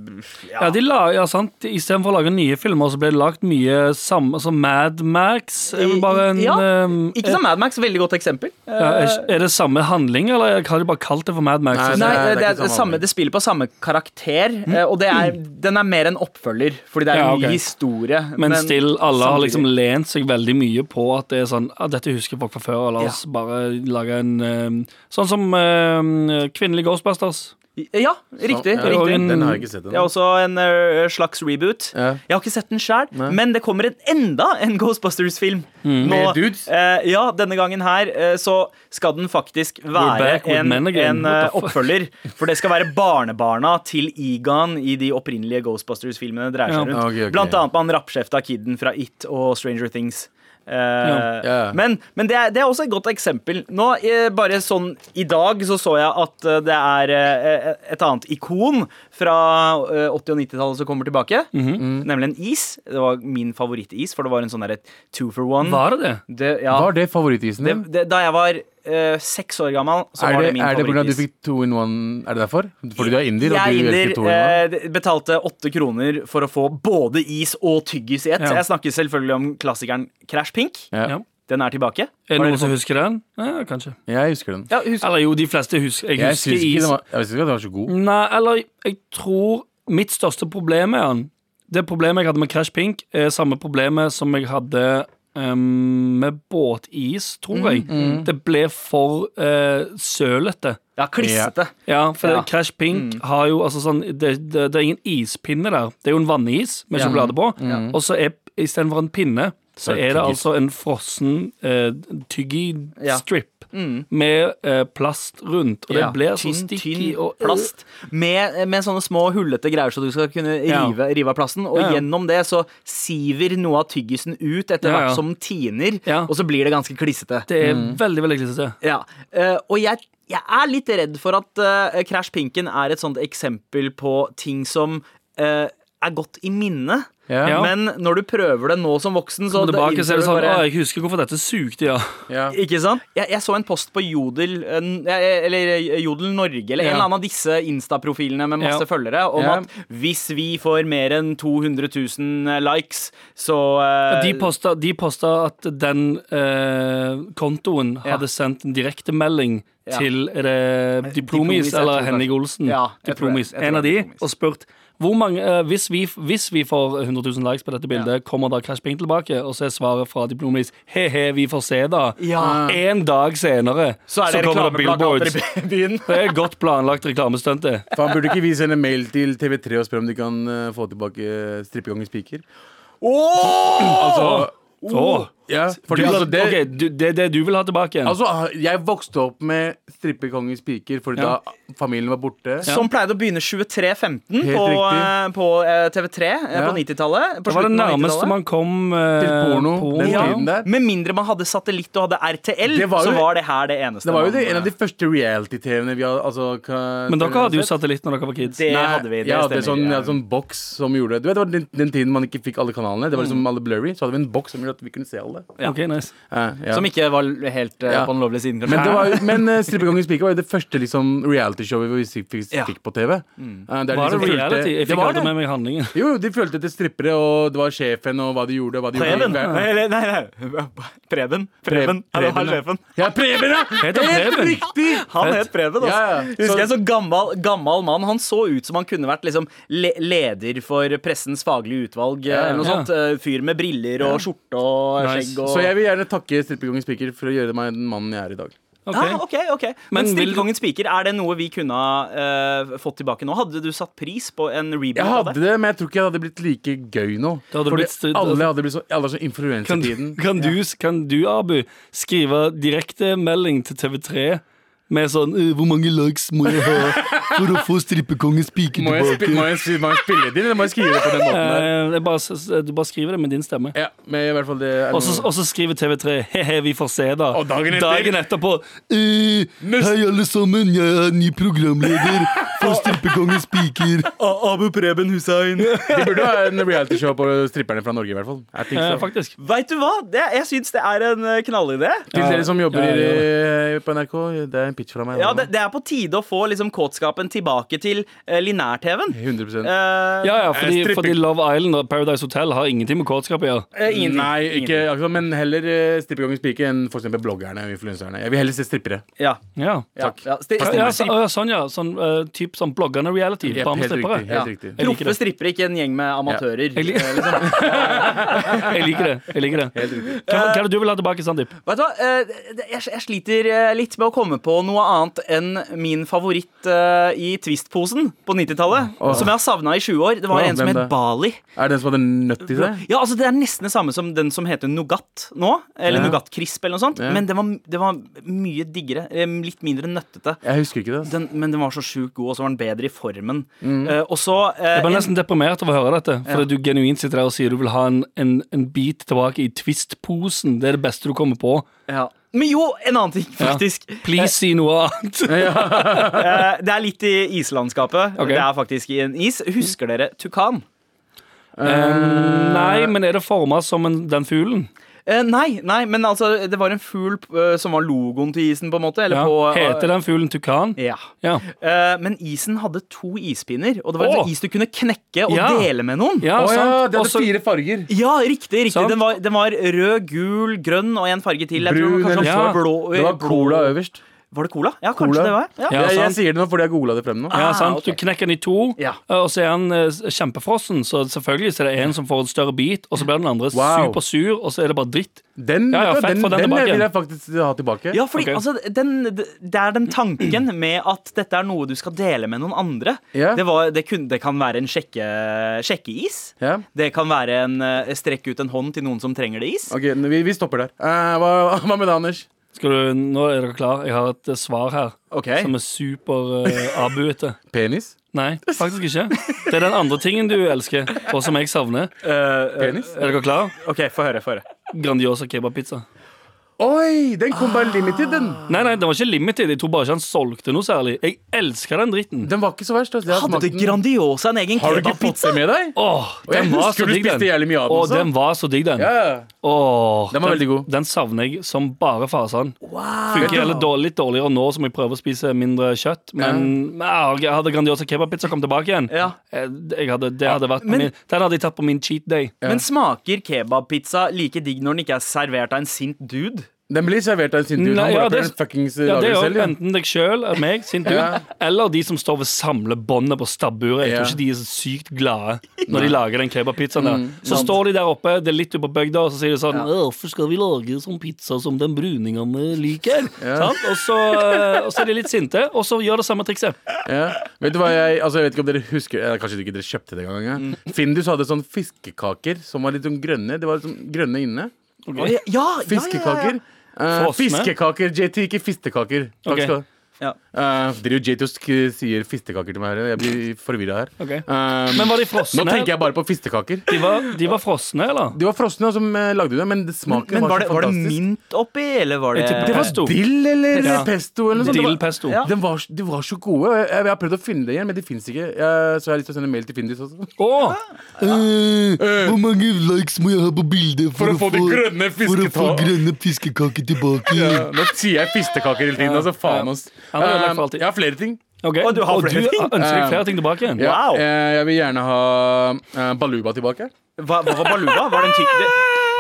S2: ja.
S4: Ja, de la, ja sant. Istedenfor å lage nye filmer, så ble det lagt mye samme som Mad Max. Er vel bare en,
S2: Ja,
S4: ehm,
S2: Ikke som Mad Max, veldig godt eksempel. Eh,
S4: ja, er- er det samme handling, eller har de bare kalt det for Mad Max?
S3: Nei,
S2: Nei,
S3: det er
S2: det, er
S3: ikke samme
S2: samme,
S3: handling.
S2: det spiller på samme karakter, eh, og det er, den er mer en oppfølger, fordi det er
S4: Mm. Ja,
S2: mye
S4: ok.
S2: historie.
S4: men, still, alle har
S2: samtidig-
S4: liksom lent seg veldig mye på at det er sånn ah, Dette husker folk fra før, og la
S2: Ja.
S4: oss bare lage en ehm, Sånn som ehm, Kvinnelige Ghostbusters.
S2: Ja, riktig.
S3: Ja,
S4: Det er jo
S2: riktig.
S4: en-
S3: Den har jeg ikke sett
S2: Det er
S3: ennå.
S2: også en ø, slags reboot.
S3: Ja.
S2: Jeg har ikke sett den sjøl, men det kommer en, enda en Ghostbusters-film.
S4: Mm.
S3: Med dudes?
S2: eh, ja, denne gangen her eh, så skal den faktisk være
S4: back with
S2: en,
S4: men again.
S2: en
S4: What
S2: eh,
S4: the fuck?
S2: oppfølger. For det skal være barnebarna til Egan i de opprinnelige Ghostbusters-filmene. det dreier
S4: Ja.
S2: seg rundt
S3: Ok, ok.
S2: Blant annet med han rappskjefta kiden fra It og Stranger Things. Eh,
S3: Ja.
S2: Men, men det, er, det er også et godt eksempel. Nå, eh, bare sånn I dag så så jeg at eh, det er eh, et annet ikon fra eh, 80- og 90-tallet som kommer tilbake.
S3: Mhm.
S2: Mm, Nemlig en is. Det var min favorittis, for det var en sånn derre two for one.
S4: Var det det?
S2: Det, ja,
S3: Var det favorittisen
S2: det,
S3: din?
S2: det, da jeg var eh, seks år gammel, så
S3: Er
S2: var
S3: det,
S2: det min
S3: er det pga. at du
S2: favorittis.
S3: fikk two in one? Er det derfor? Fordi du er indier? og
S2: Jeg
S3: du
S2: inder,
S3: elsker two in one?
S2: eh, betalte åtte kroner for å få både is og tyggis i ett.
S4: Ja.
S2: Jeg snakker selvfølgelig om klassikeren Crash Pink.
S3: Ja.
S4: Ja.
S2: Den er tilbake.
S4: Er det
S2: Har
S4: noen
S2: dere
S4: som
S2: fått-
S4: husker den? Ja, kanskje.
S3: Jeg husker den.
S2: ja, husk,
S4: Eller jo, de fleste husker Jeg
S3: Jeg
S4: husker
S3: syns ikke,
S4: is.
S3: den var- jeg synes ikke at den var så god.
S4: Nei, eller jeg tror mitt største problem med han Det problemet jeg hadde med Crash Pink, er samme problemet som jeg hadde ehm, med båtis, tror jeg.
S2: Mm,
S4: Det ble for eh, sølete.
S2: ja, klissete.
S4: Ja, for
S2: Ja. Mm.
S4: det, Crash Pink har jo altså sånn det, det, det er ingen ispinne der. Det er jo en vannis med
S2: Ja.
S4: sjokolade på, og så er istedenfor en pinne,
S3: Så
S4: så er det
S3: tyggis.
S4: altså en frossen eh,
S2: Ja. Mm.
S4: tyggi-strip med eh, plast rundt, og det
S2: Ja.
S4: blir så
S2: Tynn,
S4: sticky
S2: tynn
S4: og
S2: plast. Med, med sånne små hullete greier, så du skal kunne
S4: Ja.
S2: rive, rive av plasten. Og
S4: Ja, ja.
S2: gjennom det så siver noe av tyggisen ut etter
S4: Ja,
S2: hvert
S4: ja.
S2: som den tiner,
S4: Ja.
S2: og så blir det ganske klissete.
S4: Det er veldig, veldig klissete.
S2: Ja, eh, og jeg, jeg er litt redd for at eh, Crash Pinken er et sånt eksempel på ting som eh, er godt i minnet,
S3: Ja.
S4: Ja.
S2: men når du prøver det nå som voksen, så
S4: Og tilbake så er det
S2: innser
S4: sånn
S2: du
S4: Å,
S2: bare-
S4: jeg husker hvorfor dette sugde, ja.
S3: Ja.
S2: Ikke sant? Jeg, jeg så en post på Jodel eh, n- eh, Eller Jodel Norge Eller en
S4: Ja.
S2: eller annen av disse Insta-profilene med masse
S4: Ja.
S2: følgere Om
S3: Ja.
S2: at hvis vi får mer enn 200 000 eh, likes Så eh,
S4: De posta, de posta at den eh, kontoen
S2: Ja.
S4: hadde sendt en direktemelding
S2: Ja.
S4: til er det
S2: Diplomis,
S4: Diplomis
S2: jeg tror
S4: eller
S2: kanskje.
S4: Henning Olsen.
S2: Ja, jeg tror det.
S4: Diplomis.
S2: Jeg tror
S4: En av
S2: det
S4: de,
S2: er Diplomis.
S4: og spurt hvor mange, eh, hvis, vi, hvis vi får 100 000 likes på dette bildet, kommer da Crash Bing tilbake? Og så er svaret fra Diplomis he-he, vi får se, da.
S2: Ja.
S4: En dag senere
S2: Så er det
S4: kommer det
S2: reklameplakater
S4: billboards.
S2: i byen
S4: Det er godt planlagt reklamestunt, det.
S3: Faen, burde ikke vi sende mail til TV3 og spørre om de kan eh, få tilbake strippegangens piker?
S2: Åh!
S3: Altså,
S4: Åh.
S3: ja, fordi,
S4: Du-
S3: altså, det,
S4: ok, du, det er det du vil ha tilbake igjen.
S3: altså, jeg vokste opp med strippekongens piker, for
S4: Ja.
S3: da familien var borte.
S2: Som pleide å begynne 23.15
S3: Helt
S2: på,
S3: riktig.
S2: eh, på eh, TV3 eh,
S3: Ja.
S2: på 90-tallet. på
S4: det var det
S2: slutten av
S4: nærmeste
S2: 90-tallet.
S4: man kom eh,
S3: Til porno, den
S2: Ja,
S3: tiden der.
S2: Med mindre man hadde satellitt og hadde RTL,
S3: Det var jo-
S2: så var det her det eneste.
S3: Det var jo
S2: man-
S3: det, en av de første reality-TV-ene vi hadde altså, ka-
S4: Men dere hadde jo
S3: sett.
S4: satellitt når dere var kids.
S2: eh, Det
S3: Nei,
S2: hadde vi. Det
S3: jeg hadde
S2: stemmer.
S3: sånn, jeg
S2: Ja.
S3: hadde sånn boks som gjorde Du vet, det var den, den tiden man ikke fikk alle kanalene. Det var
S2: Mm.
S3: liksom alle blurry. Så hadde vi en boks som gjorde at vi kunne se alle.
S4: Ok, nice.
S3: Eh, ja.
S2: Som ikke var helt eh,
S3: Ja.
S2: på den lovlige siden.
S3: Men, det var, jo- men eh, Strippekongens pike var jo det første liksom, reality-showet vi fikk, fikk,
S2: Ja. Mm.
S3: fikk på TV. Eh, der de
S4: Var det
S3: liksom fulgte-
S4: reality? Jeg
S3: Det
S4: fikk
S3: var det.
S4: aldri med meg handlingen.
S3: Jo, jo, de fulgte etter strippere, og det var sjefen, og hva de gjorde. og Hva de
S2: Preben.
S3: gjorde.
S2: Nei, nei, nei. Preben. Preben. Ja, det var
S3: Preben, ja.
S2: sjefen.
S3: Ja, Preben, ja!
S4: Heter han
S3: Helt
S4: Preben?
S3: riktig!
S2: Han
S4: Fett.
S2: het Preben. Altså.
S3: Ja, ja. Så-
S2: Husker jeg så gammel, gammel mann. Han så ut som han kunne vært liksom, le leder for pressens faglige utvalg. eh,
S3: Ja,
S2: Eller noe
S4: ja.
S2: sånt. Eh, Fyr med briller og skjorte og
S4: Nice.
S2: skjegg og
S3: Så jeg vil gjerne takke Strippekongens piker for å gjøre meg den mannen jeg er i dag.
S4: Ok.
S2: Ah, ok, ok Men,
S4: Men vil du-
S2: Strikkekongens spiker, er det noe vi kunne ha eh, fått tilbake nå? Hadde du satt pris på en reboot
S3: Jeg
S2: av
S3: hadde det, men jeg tror ikke det hadde blitt like gøy nå.
S4: Det hadde
S3: Fordi
S4: blitt stu-
S3: alle hadde blitt så, alle er så
S4: Kan,
S3: influensa i tiden.
S4: kan, du, kan du, Abu, skrive direktemelding til TV3 med sånn «Eh, 'Hvor mange likes må jeg ha for å få strippekongens pike
S3: Må jeg, spi,
S4: tilbake?'
S3: må, jeg, spi- må jeg spille det inn, eller må jeg skrive det på den måten der?
S4: Eh, det er bare, s- s- du bare skriver det med din stemme.
S3: Ja, men i hvert fall det er
S4: Og så
S3: noe-
S4: og så skriver TV3 he-he, vi får se, da.
S3: Og dagen etter-
S4: etterpå «Eh, Hei, alle sammen, jeg er ny programleder for Strippekongens piker.
S2: Abu Preben Hussein.
S3: De burde ha en realityshow på stripperne fra Norge, i hvert fall. Jeg
S4: Eh,
S3: tenker så.
S4: faktisk.
S2: Veit du hva? Det, jeg syns det er en eh, knallidé.
S3: Til dere som jobber
S4: Ja,
S3: I,
S4: ja,
S3: på NRK, det er en pitch fra meg.
S2: Ja, det, det er på tide å få liksom, kåtskapen tilbake til eh, linær-TV-en.
S3: 100
S2: Eh,
S4: Ja, ja, fordi,
S3: Eh, stripping.
S4: fordi Love Island og Paradise Hotel har ingenting med kåtskap å gjøre.
S2: eh, ingenting.
S3: Nei, ikke
S2: Ingenting.
S3: akkurat, men heller eh, strippekongens pike enn for eksempel bloggerne og influenserne. Jeg vil heller se strippere.
S2: Ja,
S4: Ja.
S2: ja, ja. Sti-
S4: Ja,
S2: sti-
S4: ja, så, ja, sånn, ja. Sånn, eh, typ sånn bloggende reality.
S3: Jep,
S4: bare med
S3: helt
S4: strippere.
S3: riktig.
S2: ja.
S3: Helt riktig.
S4: Jeg liker
S2: Proffe
S4: det.
S2: strippere, ikke en gjeng med amatører.
S4: Jeg lik-
S2: eh, liksom.
S4: Jeg liker det. jeg liker det Hva, hva er det du vil ha tilbake, Sandeep?
S2: Vet du hva, eh, det- jeg, jeg sliter eh, litt med å komme på noe annet enn min favoritt eh, i Twist-posen på 90-tallet. Som jeg har savna i 20 år. Det var
S3: Åh,
S2: en som
S3: hvem
S2: het
S3: det?
S2: Bali.
S3: Er det den som hadde nøtt i seg?
S2: Ja, altså Det er nesten det samme som den som heter Nougat nå. Eller
S3: Ja.
S2: Nougat Crisp eller noe sånt.
S3: Ja.
S2: Men den var, den var mye diggere. eh, Litt mindre nøttete.
S3: Jeg husker ikke det. altså. ass.
S2: Den, men den var så sjukt god, og så var den bedre i formen. Eh, og så eh,
S4: Mm. Jeg ble
S2: en-
S4: nesten deprimert av å høre dette. Fordi du genuint sitter der og sier du vil ha en, en, en bit tilbake i Twist-posen. Det er det beste du kommer på.
S2: ja. Men jo, en annen ting,
S4: Ja.
S2: faktisk.
S4: Please, si noe annet.
S2: Eh, det er litt i islandskapet.
S4: Ok.
S2: Det er faktisk i en is. Husker dere tukan?
S4: Eh, nei, men er det forma som en, den fuglen?
S2: Eh, nei, nei, men altså, det var en fugl eh, som var logoen til isen, på en måte. Eller
S4: Ja.
S2: på eh,
S4: Heter den fuglen tukan?
S2: Ja.
S4: Ja.
S2: Eh, men isen hadde to ispinner, og det var
S4: Åh!
S2: en is du kunne knekke og
S4: Ja.
S2: dele med noen.
S3: Å
S4: Ja,
S3: ja,
S4: sant.
S3: det hadde
S4: Også-
S3: fire farger.
S2: Ja, riktig. riktig
S4: Sant.
S2: den, var, den var rød, gul, grønn og en farge til. Jeg tror
S3: Brun,
S2: kanskje
S3: eller-
S2: den var
S4: Ja.
S2: blå,
S3: Det var cola øverst.
S2: Var det cola? Ja,
S3: Cola.
S2: kanskje det var. Ja.
S4: Ja,
S3: jeg, jeg
S4: sant.
S3: sier det nå fordi jeg googla det frem nå.
S4: Ja,
S2: Ah,
S4: sant?
S2: ok.
S4: Du knekker den i to,
S2: Ja.
S4: og så er han eh, kjempefrossen. Så selvfølgelig så er det en som får en større bit, og så blir den andre
S3: Wow.
S4: supersur, og så er det bare dritt.
S3: Den,
S4: Ja, ja,
S3: vet du,
S4: fett,
S3: den,
S4: få den
S3: den,
S4: tilbake
S3: vil
S4: igjen.
S3: jeg faktisk ha tilbake.
S2: Ja, fordi
S4: Ok.
S2: altså, den, det er den tanken med at dette er noe du skal dele med noen andre.
S3: Ja.
S2: Det, var, det, kun, det kan være en sjekke, sjekkeis.
S3: Ja.
S2: Det kan være en eh, strekk ut en hånd til noen som trenger det is.
S3: Ok, n- vi, vi stopper der. Eh, hva, hva med det, Anders?
S4: Skal du, nå er dere klar Jeg har et eh, svar her
S2: Ok.
S4: som er super eh, abuete.
S3: Penis?
S4: Nei, faktisk ikke. Det er den andre tingen du elsker, og som jeg savner.
S2: Eh, eh,
S3: Penis?
S4: Er dere klar?
S2: ok, få høre. Få høre.
S4: Grandiosa kebabpizza.
S3: Oi! Den kom bare limited, den.
S4: Nei, nei, den var ikke limited. Jeg tror bare ikke han solgte noe særlig. Jeg elsker den dritten.
S3: Den var ikke så verst. Altså. Jeg har
S2: Hadde
S3: smakt den.
S2: Grandiosa en egen
S3: Har du ikke fått
S2: kebabpizza?
S3: det med deg?
S4: Åh,
S3: Og jeg
S4: den var
S3: husker
S4: så
S3: du
S4: digg,
S3: spiste jævlig
S4: den.
S3: mye av den,
S4: Åh,
S3: så.
S4: den var så digg, den.
S3: Ja, ja.
S4: Åh,
S3: Den var veldig god.
S4: Den savner jeg som bare fasen. Funker heller dårlig, litt dårligere nå som jeg prøver å spise mindre kjøtt. Men ja. jeg hadde Grandiosa kebabpizza kom tilbake igjen.
S2: Ja.
S4: Eh, Jeg hadde, det hadde vært
S2: men-
S4: min, den hadde jeg tatt på min cheat day.
S2: Men smaker kebabpizza like digg når den ikke er servert av en sint dude?
S3: Den blir servert av en sint dude.
S4: Nei,
S3: Han bare
S4: ja, det-
S3: prøver fuckings
S4: Ja, det
S3: lager
S4: er jo
S3: selv. Ja.
S4: Enten deg sjøl, meg, sint du,
S3: Ja.
S4: eller de som står ved samlebåndet på stabburet. Jeg
S3: Ja.
S4: tror ikke de er så sykt glade når de lager den kebabpizzaen der.
S3: Mm,
S4: Så står de der oppe, det er litt ute på bygda, og så sier de sånn «Å, 'Hvorfor skal vi lage sånn pizza som den bruningene liker?' Sant? Og, så, eh, og så er de litt sinte, og så gjør det samme trikset.
S3: Ja. Vet du hva jeg Altså, jeg vet ikke om dere husker eller Kanskje ikke dere kjøpte det engang. Ja. Findus hadde sånn fiskekaker som var litt sånn grønne. Det var litt sånn grønne inne.
S2: Oi, Ja, ja, ja,
S3: Fiskekaker. Eh,
S4: Frosne?
S3: fiskekaker, JT, ikke fistekaker. Takk
S4: Ok.
S3: skal du ha.
S2: Ja, ja.
S3: Eh, driver JT og sk- sier fistekaker til meg her. Jeg blir forvirra her.
S4: Ok.
S3: Eh,
S4: Men var de
S3: nå
S4: frosne?
S3: tenker jeg bare på fistekaker.
S4: De var, de var frosne, eller?
S3: De var frosne, og så eh, lagde du det, men det
S2: Men,
S3: smaken
S2: men var,
S3: var,
S2: det,
S3: så
S2: var det
S3: fantastisk.
S2: mint oppi, eller var det
S4: Jeg tipper
S3: Det var
S4: Pesto.
S3: dill eller
S4: Ja.
S3: pesto eller noe sånt.
S4: Dill
S3: sånn, Det var-
S4: pesto.
S2: Ja.
S3: Den var, de var så gode. og Jeg, jeg, har prøvd å finne det igjen, men det fins ikke. Jeg, så jeg har lyst til å sende mail til Findus også.
S4: Åh,
S5: Hvor mange likes må jeg ha på bildet for,
S3: grønne
S5: for å få grønne fiskekaker tilbake?
S3: Ja, nå sier jeg fistekaker hele tiden. Altså, faen oss.
S4: Ja, det er ødelagt for
S3: Um,
S4: alltid.
S3: jeg har flere ting.
S4: ok.
S2: Å, du har
S4: Og
S2: flere ting?
S4: ønsker deg flere ting tilbake igjen?
S3: Ja,
S2: Wow.
S3: eh, Jeg vil gjerne ha eh, Baluba tilbake.
S2: Hva, hva var baluba? Var det en type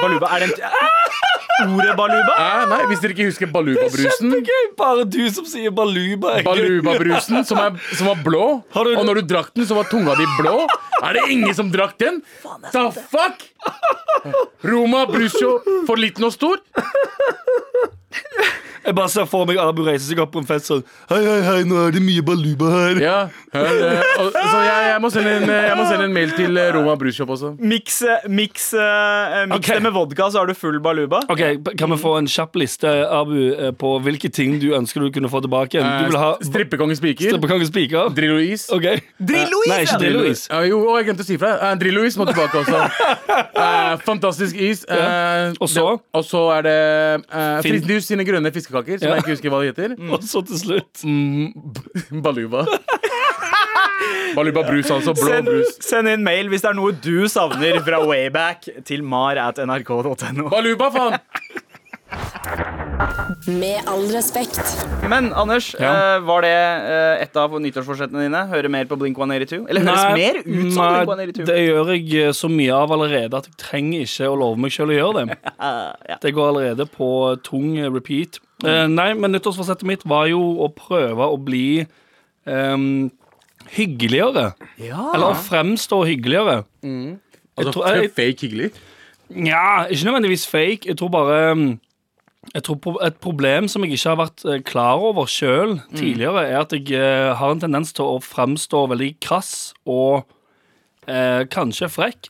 S2: Baluba, er det en ty- Ordet baluba?
S4: Ah.
S3: Eh, nei, hvis dere ikke husker Baluba-brusen.
S4: Bare du som sier baluba. jeg-
S3: Baluba-brusen som, er- som var blå.
S4: Har du-
S3: Og når du drakk den, så var tunga di blå. Er det ingen som drakk den? The fuck? Roma Brusjo for liten og stor?
S4: Jeg bare ser for meg Abu reiser seg opp på en fest sånn
S5: Hei, hei, hei, nå er det mye baluba her.
S3: Ja. eh, og- Så jeg, jeg, må sende en, jeg må sende en mail til eh, Roma Brusshop også.
S2: Miks eh, miks, eh, miks
S4: Ok.
S2: det med vodka, så har du full baluba.
S4: Ok, Kan vi få en kjapp liste Abu, eh, på hvilke ting du ønsker du kunne få tilbake? igjen? Du vil ha
S3: Eh, Strippekongen spiker.
S4: strippekongens spiker?
S3: Drillo-is.
S4: Ok
S2: Drillo-is,
S4: Eh, Nei,
S2: ja.
S4: ikke Drillo-is.
S3: Ja, jo, og jeg glemte å si fra. Uh, Drillo-is må tilbake også. Eh, fantastisk is. Eh,
S4: Og så?
S3: det- Og så er det uh,
S4: Finn-
S3: Fridtjus sine grønne fiskekaker, som
S4: Ja.
S3: jeg ikke husker hva de heter.
S4: Og så til slutt
S3: Mm. Baluba. Baluba brus, altså. Blå
S2: Send,
S3: brus.
S2: send inn mail hvis det er noe du savner fra Wayback til mar at nrk.no.
S3: Baluba, faen!
S1: Med all respekt.
S2: Men Anders,
S4: Ja.
S2: eh, var det eh, et av nyttårsforsettene dine? Høre mer på Blink 182? Eller høres
S4: Nei,
S2: mer ut som
S4: nei,
S2: Blink 182?
S4: Det gjør jeg eh, så mye av allerede at jeg trenger ikke å love meg sjøl å gjøre det.
S2: Eh, ja.
S4: Det går allerede på tung eh, repeat. Eh, nei, men nyttårsforsettet mitt var jo å prøve å bli ehm, hyggeligere. Eller å fremstå hyggeligere. Jeg
S3: Altså,
S4: tror- jeg-
S3: fake hyggelig.
S4: Nja, ikke nødvendigvis fake. Jeg tror bare mm, jeg tror pro- Et problem som jeg ikke har vært eh, klar over sjøl tidligere, er at jeg eh, har en tendens til å framstå veldig krass og eh, kanskje frekk.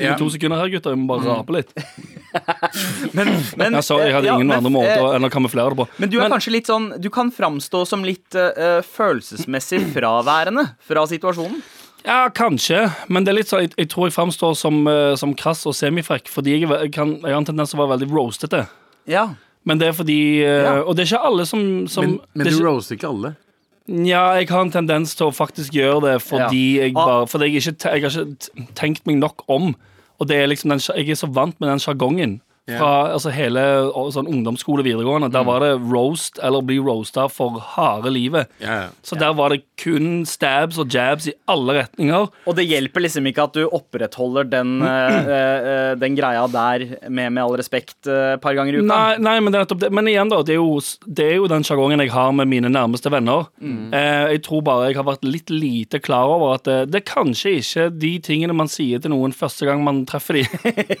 S4: I
S3: Ja.
S4: to sekunder her, gutter. Jeg må bare rape litt.
S2: Men,
S4: Ja, sorry, jeg hadde
S2: eh, ja,
S4: ingen
S2: men,
S4: andre
S2: eh,
S4: måter enn å kamuflere det på.
S2: Men du er kanskje litt sånn Du kan framstå som litt eh, eh, følelsesmessig fraværende fra situasjonen.
S4: Ja, kanskje, men det er litt sånn, jeg, jeg tror jeg framstår som, eh, som krass og semifrekk fordi jeg, er ve- jeg, kan, jeg har en tendens til å være veldig roastete.
S2: Ja.
S4: Men det er fordi eh,
S2: Ja.
S4: Og det er ikke alle som, som
S3: Men, men
S4: det er
S3: du
S4: ikke-
S3: roaster ikke alle.
S4: Nja, jeg har en tendens til å faktisk gjøre det fordi jeg
S2: Ah.
S4: bare Fordi jeg, ikke, te- jeg har ikke t- tenkt meg nok om. Og det er liksom den, sja- Jeg er så vant med den sjargongen fra altså, hele å, sånn ungdomsskole videregående.
S3: Mm.
S4: Der var det roast eller bli roasta for harde livet.
S3: Ja, ja.
S4: Så der var det kun stabs og jabs i alle retninger.
S2: Og det hjelper liksom ikke at du opprettholder den, eh, eh, eh, den greia der med med all respekt et par ganger i uka.
S4: Nei, nei men, det er nettopp det. men igjen, da. Det er jo, det er jo den sjargongen jeg har med mine nærmeste venner. Eh, jeg tror bare jeg har vært litt lite klar over at det, det er kanskje ikke de tingene man sier til noen første gang man treffer de.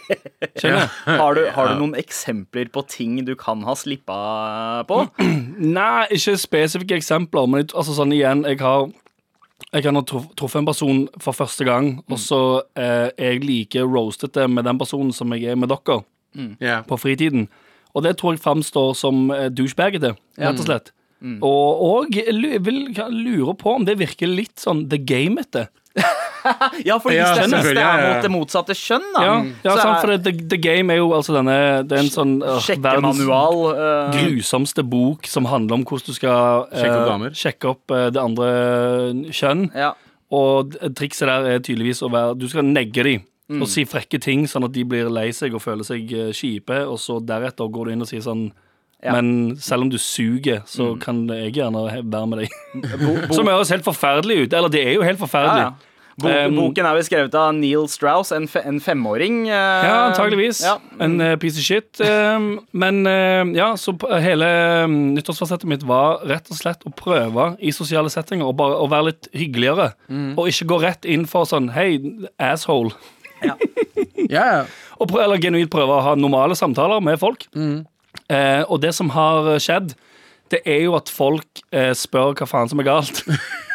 S4: Skjønner?
S2: Har, du, har du noen eksempler på ting du kan ha slippa på?
S4: Nei, ikke spesifikke eksempler, men jeg- altså, sånn igjen, jeg har jeg kan ha truff- truffet en person for første gang, og så eh, er jeg like roastete med den personen som jeg er med dere.
S3: Ja.
S4: på fritiden. Og det tror jeg framstår som eh, douchebagete, rett og slett. Og, og jeg lu- vil, kan- lurer på om det virker litt sånn the game etter.
S2: Ja, for
S3: Ja,
S2: hvis det neste
S3: selvfølgelig, ja,
S2: er
S3: ja.
S2: mot det motsatte kjønn, da,
S4: Ja, ja
S2: Mm. så
S4: sant, for
S2: er
S4: det, the, the Game er jo altså denne Det er en sånn øh, verdens
S2: sjekkemanual eh,
S4: grusomste bok som handler om hvordan du skal eh,
S3: Sjekke opp damer.
S4: sjekke opp, eh, det andre kjønn.
S2: ja.
S4: Og d- trikset der er tydeligvis å være Du skal negge dem
S2: Mm.
S4: og si frekke ting, sånn at de blir lei seg og føler seg eh, kjipe, og så deretter går du inn og sier sånn
S2: Ja. Mm.
S4: Men selv om du suger, så kan jeg gjerne he- være med deg.
S2: Bo, bo,
S4: Som høres helt forferdelig ut. Eller det er jo helt
S2: ja,
S4: forferdelig.
S2: ja. Bo,
S4: Um,
S2: boken er jo skrevet av Neil Strauss, en, fe, en femåring. eh,
S4: Ja, antageligvis.
S2: Ja.
S4: En eh, piece of shit. Ehm, men eh, ja, så p- hele eh, nyttårsfasettet mitt var rett og slett å prøve i sosiale settinger og bare å være litt hyggeligere.
S2: Mm.
S4: Og ikke gå rett inn for sånn hei, asshole.
S3: Ja, ja.
S4: Og prøve, eller genuint prøve å ha normale samtaler med folk.
S3: Mm.
S4: Eh, og det som har skjedd, det er jo at folk eh, spør hva faen som er galt.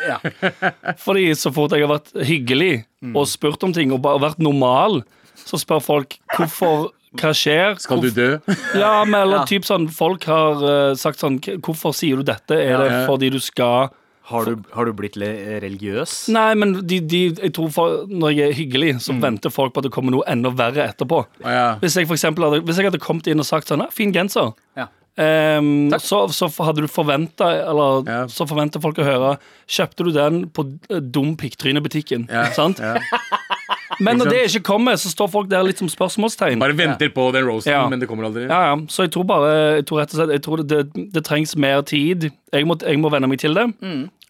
S2: Ja.
S4: Fordi så fort jeg har vært hyggelig
S3: Mm.
S4: og spurt om ting og bare vært normal, så spør folk hvorfor hva skjer?
S3: Skal du dø?
S4: Ja, men
S2: Ja.
S4: eller typ sånn Folk har eh, sagt sånn "K- Hvorfor sier du dette? Er det
S3: Ja.
S4: fordi du skal
S2: Har, du, har du blitt le- religiøs?
S4: Nei, men de, de, jeg tror for, når jeg er hyggelig, så
S3: Mm.
S4: venter folk på at det kommer noe enda verre etterpå.
S3: Å, ja.
S4: Hvis jeg, for eksempel hadde, hvis jeg hadde kommet inn og sagt sånn "Ja, Fin genser.
S2: Ja.
S4: Ehm, så, så hadde du forventa Eller
S3: Ja.
S4: så forventer folk å høre Kjøpte du den på eh, dum pikktrynebutikken?
S3: Ja,
S4: Sant?
S3: ja.
S4: Men når det ikke kommer, så står folk der litt som spørsmålstegn.
S3: Bare venter på den roasten,
S4: Ja.
S3: men det kommer aldri.
S4: Ja, ja. Så jeg tror bare jeg tror rett og slett, jeg tror det, det, det trengs mer tid. Jeg må, jeg må venne meg til det.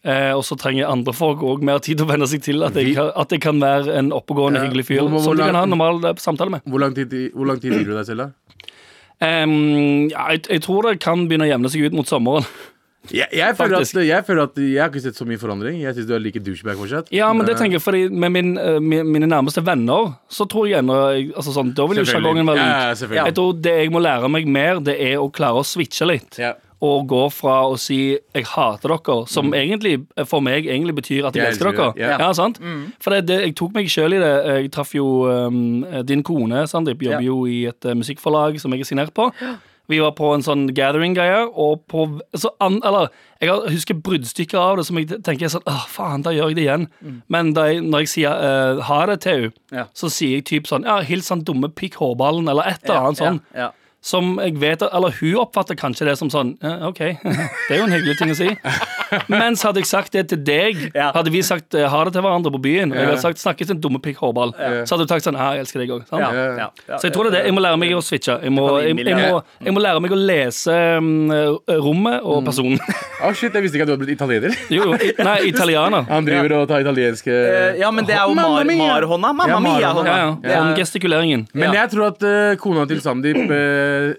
S4: Eh, og så trenger andre folk òg mer tid å venne seg til at jeg, kan- at jeg kan være en oppegående,
S3: Ja.
S4: hyggelig fyr
S3: Hvor- hvor-
S4: som
S3: hvor
S4: du kan
S3: lang-
S4: ha en normal eh, samtale med.
S3: Hvor lang tid, hvor lang tid gir du deg selv, da?
S4: Em, ja, jeg, jeg tror det kan begynne å jevne seg ut mot sommeren.
S3: Jeg, jeg, føler at,
S4: Faktisk.
S3: jeg føler at jeg har ikke sett så mye forandring. Jeg syns du er like douchebag fortsatt. Eh,
S4: Ja, men det tenker jeg, fordi Med min, eh, mi- mine nærmeste venner så tror jeg ennå jeg- altså sånn, Da vil jo
S3: Selvfølgelig.
S4: sjargongen være
S3: Ja, ja,
S4: lik.
S3: selvfølgelig.
S4: jeg tror det jeg må lære meg mer, det er å klare å switche litt.
S3: Ja.
S4: og gå fra å si 'jeg hater dere', som
S2: Mm.
S4: egentlig eh, for meg egentlig betyr at jeg,
S3: Jeg
S4: elsker dere.
S3: elsker dere, ja.
S4: Ja, sant? For det, det, jeg tok meg sjøl i det. Jeg traff jo um, din kone, Sandeep, jobber
S2: Ja.
S4: jo i et eh, musikkforlag som jeg er signert på. Vi var på en sånn gathering-greie, og på så an, Eller jeg har- husker bruddstykker av det som jeg tenker sånn Åh, faen, da gjør jeg det igjen. Men da jeg, når jeg sier eh, ha det til henne,
S2: Mm. Ja.
S4: så sier jeg typ sånn Ja, hils han dumme pikk hårballen, eller et eller
S2: Ja,
S4: annet sånn.
S2: Ja, ja.
S4: Som jeg vet, eller hun oppfatter kanskje det som sånn «Ja, OK, det er jo en hyggelig ting å si. Mens hadde jeg sagt det til deg,
S2: Ja.
S4: hadde vi sagt eh, ha det til hverandre på byen, og jeg hadde sagt snakkes en dumme pikk hårball, så hadde du sagt sånn ja, jeg elsker deg òg.
S2: Ja,
S4: sant?
S2: ja, ja, ja.
S4: Så jeg tror det er det. Jeg må lære meg å switche. Jeg må,
S2: kan
S4: jeg,
S2: innbille
S4: jeg, må, jeg må lære meg å lese mm, rommet og personen.
S3: Å, Ah, shit, jeg visste ikke at du hadde blitt italiener.
S4: Jo, jo. i- Nei, italiener.
S3: Han driver og tar italienske
S2: Eh, ja, men det er jo
S3: Mamma mia!
S2: Mar-hånda. Mamma
S3: Ja, Mar-hånda.
S2: mia-hånda.
S4: Ja, ja.
S2: Det er-
S4: Om gestikuleringen.
S3: Men
S2: ja.
S3: jeg tror at eh, kona til Sandeep eh,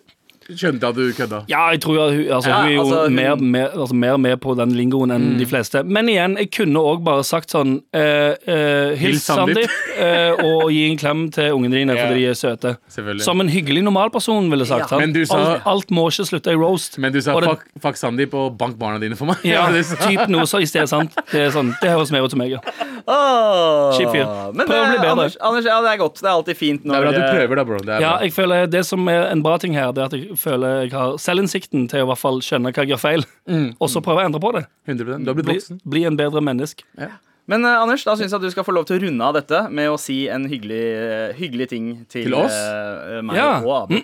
S3: skjønte at du kødda.
S4: Ja, jeg tror at hun, altså,
S2: Ja,
S4: hun er jo
S2: altså, hun-
S4: mer, mer, altså, mer med på den lingoen enn
S3: Mm.
S4: de fleste. Men igjen, jeg kunne òg bare sagt sånn eh, eh,
S3: Hils
S4: Hils
S3: Sandeep.
S4: Sandeep, eh, og gi en klem til ungene dine fordi de er søte.
S3: Selvfølgelig.
S4: Som en hyggelig normalperson ville sagt.
S2: Ja.
S4: sant?
S3: Men du sa-
S4: alt, alt må ikke slutte i roast.
S3: Men du sa
S4: Og det-
S3: fuck, fuck Sandeep og bank barna dine for meg.
S4: ja,
S3: Det var det du sa.
S4: typ noe så i stedet, sant? Det, er sånn, det høres mer ut som meg, ja.
S2: Åh.
S4: Kjip fyr.
S2: Men
S4: Prøv å
S2: det-
S4: bli bedre.
S2: Anders, Anders, ja, det er godt. Det er alltid fint
S3: Det
S2: når eh,
S3: er bra at du prøver, da, bro. Det er
S4: ja.
S3: bra.
S4: Jeg føler Det som er en bra ting her, Det er at jeg føler jeg har selvinnsikten til å i hvert fall skjønne hva jeg gjør feil, og så prøve å endre på det.
S3: 100%. Du har blitt
S4: Bli,
S3: Mm. voksen.
S4: bli en bedre menneske.
S2: Men eh, Anders, da syns jeg at du skal få lov til å runde av dette med å si en hyggelig, eh, hyggelig ting til,
S3: Til oss? Mm.
S2: eh, meg
S4: Ja.
S2: og Abu.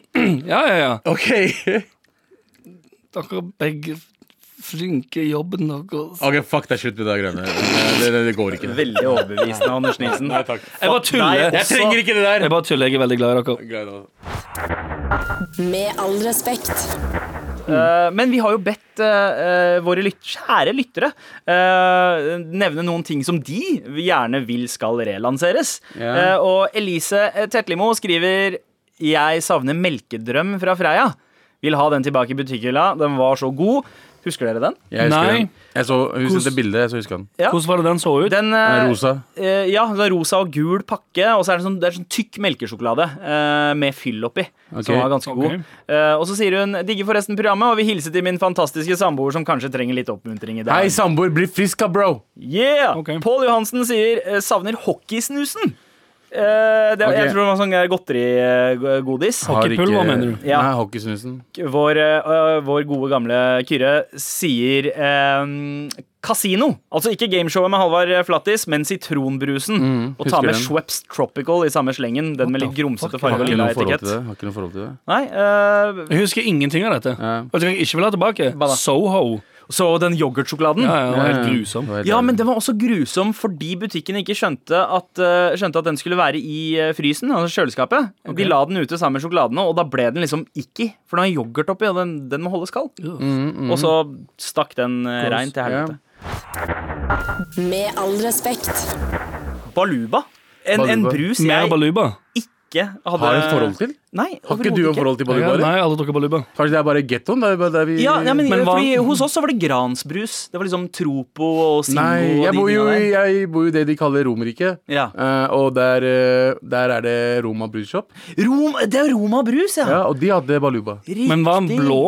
S4: Ja, ja, ja.
S3: OK.
S4: Dere begge flinke i jobben deres.
S3: ok, Fuck, det er slutt med det greiene. eh, Det, det, det går ikke.
S2: Veldig overbevisende, Anders Nilsen.
S3: Nei, takk.
S4: Jeg bare tuller.
S3: Jeg trenger ikke det der.
S4: Jeg bare tuller. Jeg er veldig glad i dere.
S3: Greit, da.
S1: Med all respekt.
S2: Eh, men vi har jo bedt eh, eh, våre lyt kjære lyttere eh, nevne noen ting som de gjerne vil skal relanseres.
S3: Ja.
S2: Eh, og Elise eh, Tetlimo skriver Jeg savner melkedrøm fra Freia. Vil ha den tilbake i butikkhylla. Den var så god. Husker dere den?
S3: Jeg husker
S4: Nei.
S3: den. Jeg så, hun
S4: Kos-
S3: sendte bilde, jeg så husker den.
S2: Ja.
S4: Hvordan var det den så ut?
S2: Den,
S3: Den
S2: eh,
S3: er rosa.
S2: Eh, ja, det er rosa og gul pakke, og så er det sånn, det er sånn tykk melkesjokolade eh, med fyll oppi. Som var ganske god.
S4: Ok.
S2: Eh, og så sier hun 'digger forresten programmet', og vil hilse til min fantastiske samboer som kanskje trenger litt oppmuntring i dag.
S3: Hei, samboer, bli frisk, da, bro!
S2: yeah!
S4: Ok.
S2: Pål Johansen sier eh, 'savner hockeysnusen'. Eh, det,
S3: Ok.
S2: Jeg tror det var sånn eh, godteri-godis.
S4: Hockeypulver, mener du?
S2: Ja.
S3: Nei, hockeysnusen.
S2: Vår, eh, vår gode gamle Kyrre sier eh, Casino. Altså ikke gameshowet med Halvard Flattis, men sitronbrusen. og ta
S3: Mm, husker
S2: med
S3: den.
S2: Schweppes Tropical i samme slengen. Den med litt grumsete farge
S3: Har
S2: og
S3: ikke
S2: lilla
S3: noe forhold til
S2: etikett.
S3: det. Har ikke noe forhold til det.
S2: Nei, eh,
S4: Jeg husker ingenting av dette.
S3: Ja.
S4: Og det jeg ikke vil ha tilbake,
S2: Hva da?
S4: Soho.
S2: så den yoghurtsjokoladen.
S4: Ja, ja, det var helt
S3: Ja, ja. Eh,
S4: grusom.
S3: Det var helt
S2: Ja,
S3: jævlig.
S2: men den var også grusom fordi butikken ikke skjønte at, eh, skjønte at den skulle være i eh, frysen, altså kjøleskapet. De la den ute sammen med sjokoladene, og da ble den liksom icky. For den har yoghurt oppi, og den, den må holdes kald.
S3: Mm,
S2: Og så stakk den eh, rein til helvete.
S1: Med all respekt.
S2: Baluba. En, en
S3: Baluba.
S2: brus
S4: Mer
S2: jeg
S4: baluba.
S2: ikke hadde
S3: Har du et forhold til?
S2: Nei,
S3: Har ikke du et forhold til
S4: Nei, jeg
S3: bodyguarder?
S4: har aldri drukket baluba.
S3: Kanskje det er bare gettoen? Der, der vi...
S2: Ja, ja, men,
S4: Men hva-
S2: fordi Hos oss så var det gransbrus. Det var liksom Tropo og Singo.
S3: Nei,
S2: og
S3: jeg
S2: de
S3: bor, jo,
S2: tingene
S3: i-
S2: der.
S3: jeg bor jo i det de kaller Romerike.
S2: Ja.
S3: Eh, og der, eh, der er det Roma Brewshop.
S2: Rom, det er Roma brus, ja.
S3: Ja, og de hadde baluba.
S2: Riktig.
S4: Men var han blå?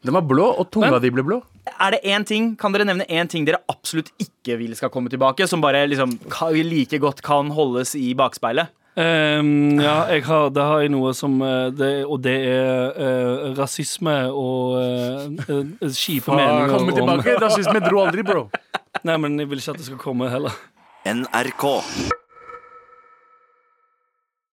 S3: Den var blå, og tunga
S4: Men-
S3: di ble blå.
S2: Er det en ting, Kan dere nevne én ting dere absolutt ikke vil skal komme tilbake, som bare liksom ka- like godt kan holdes i bakspeilet?
S4: Ehm, ja, jeg har, det har jeg noe som eh, det, Og det er eh, rasisme og eh, eh, kjipe meninger
S3: Kom
S4: om
S3: tilbake, rasisme dro aldri, bro.
S4: Nei, men jeg vil ikke at det skal komme heller.
S6: NRK.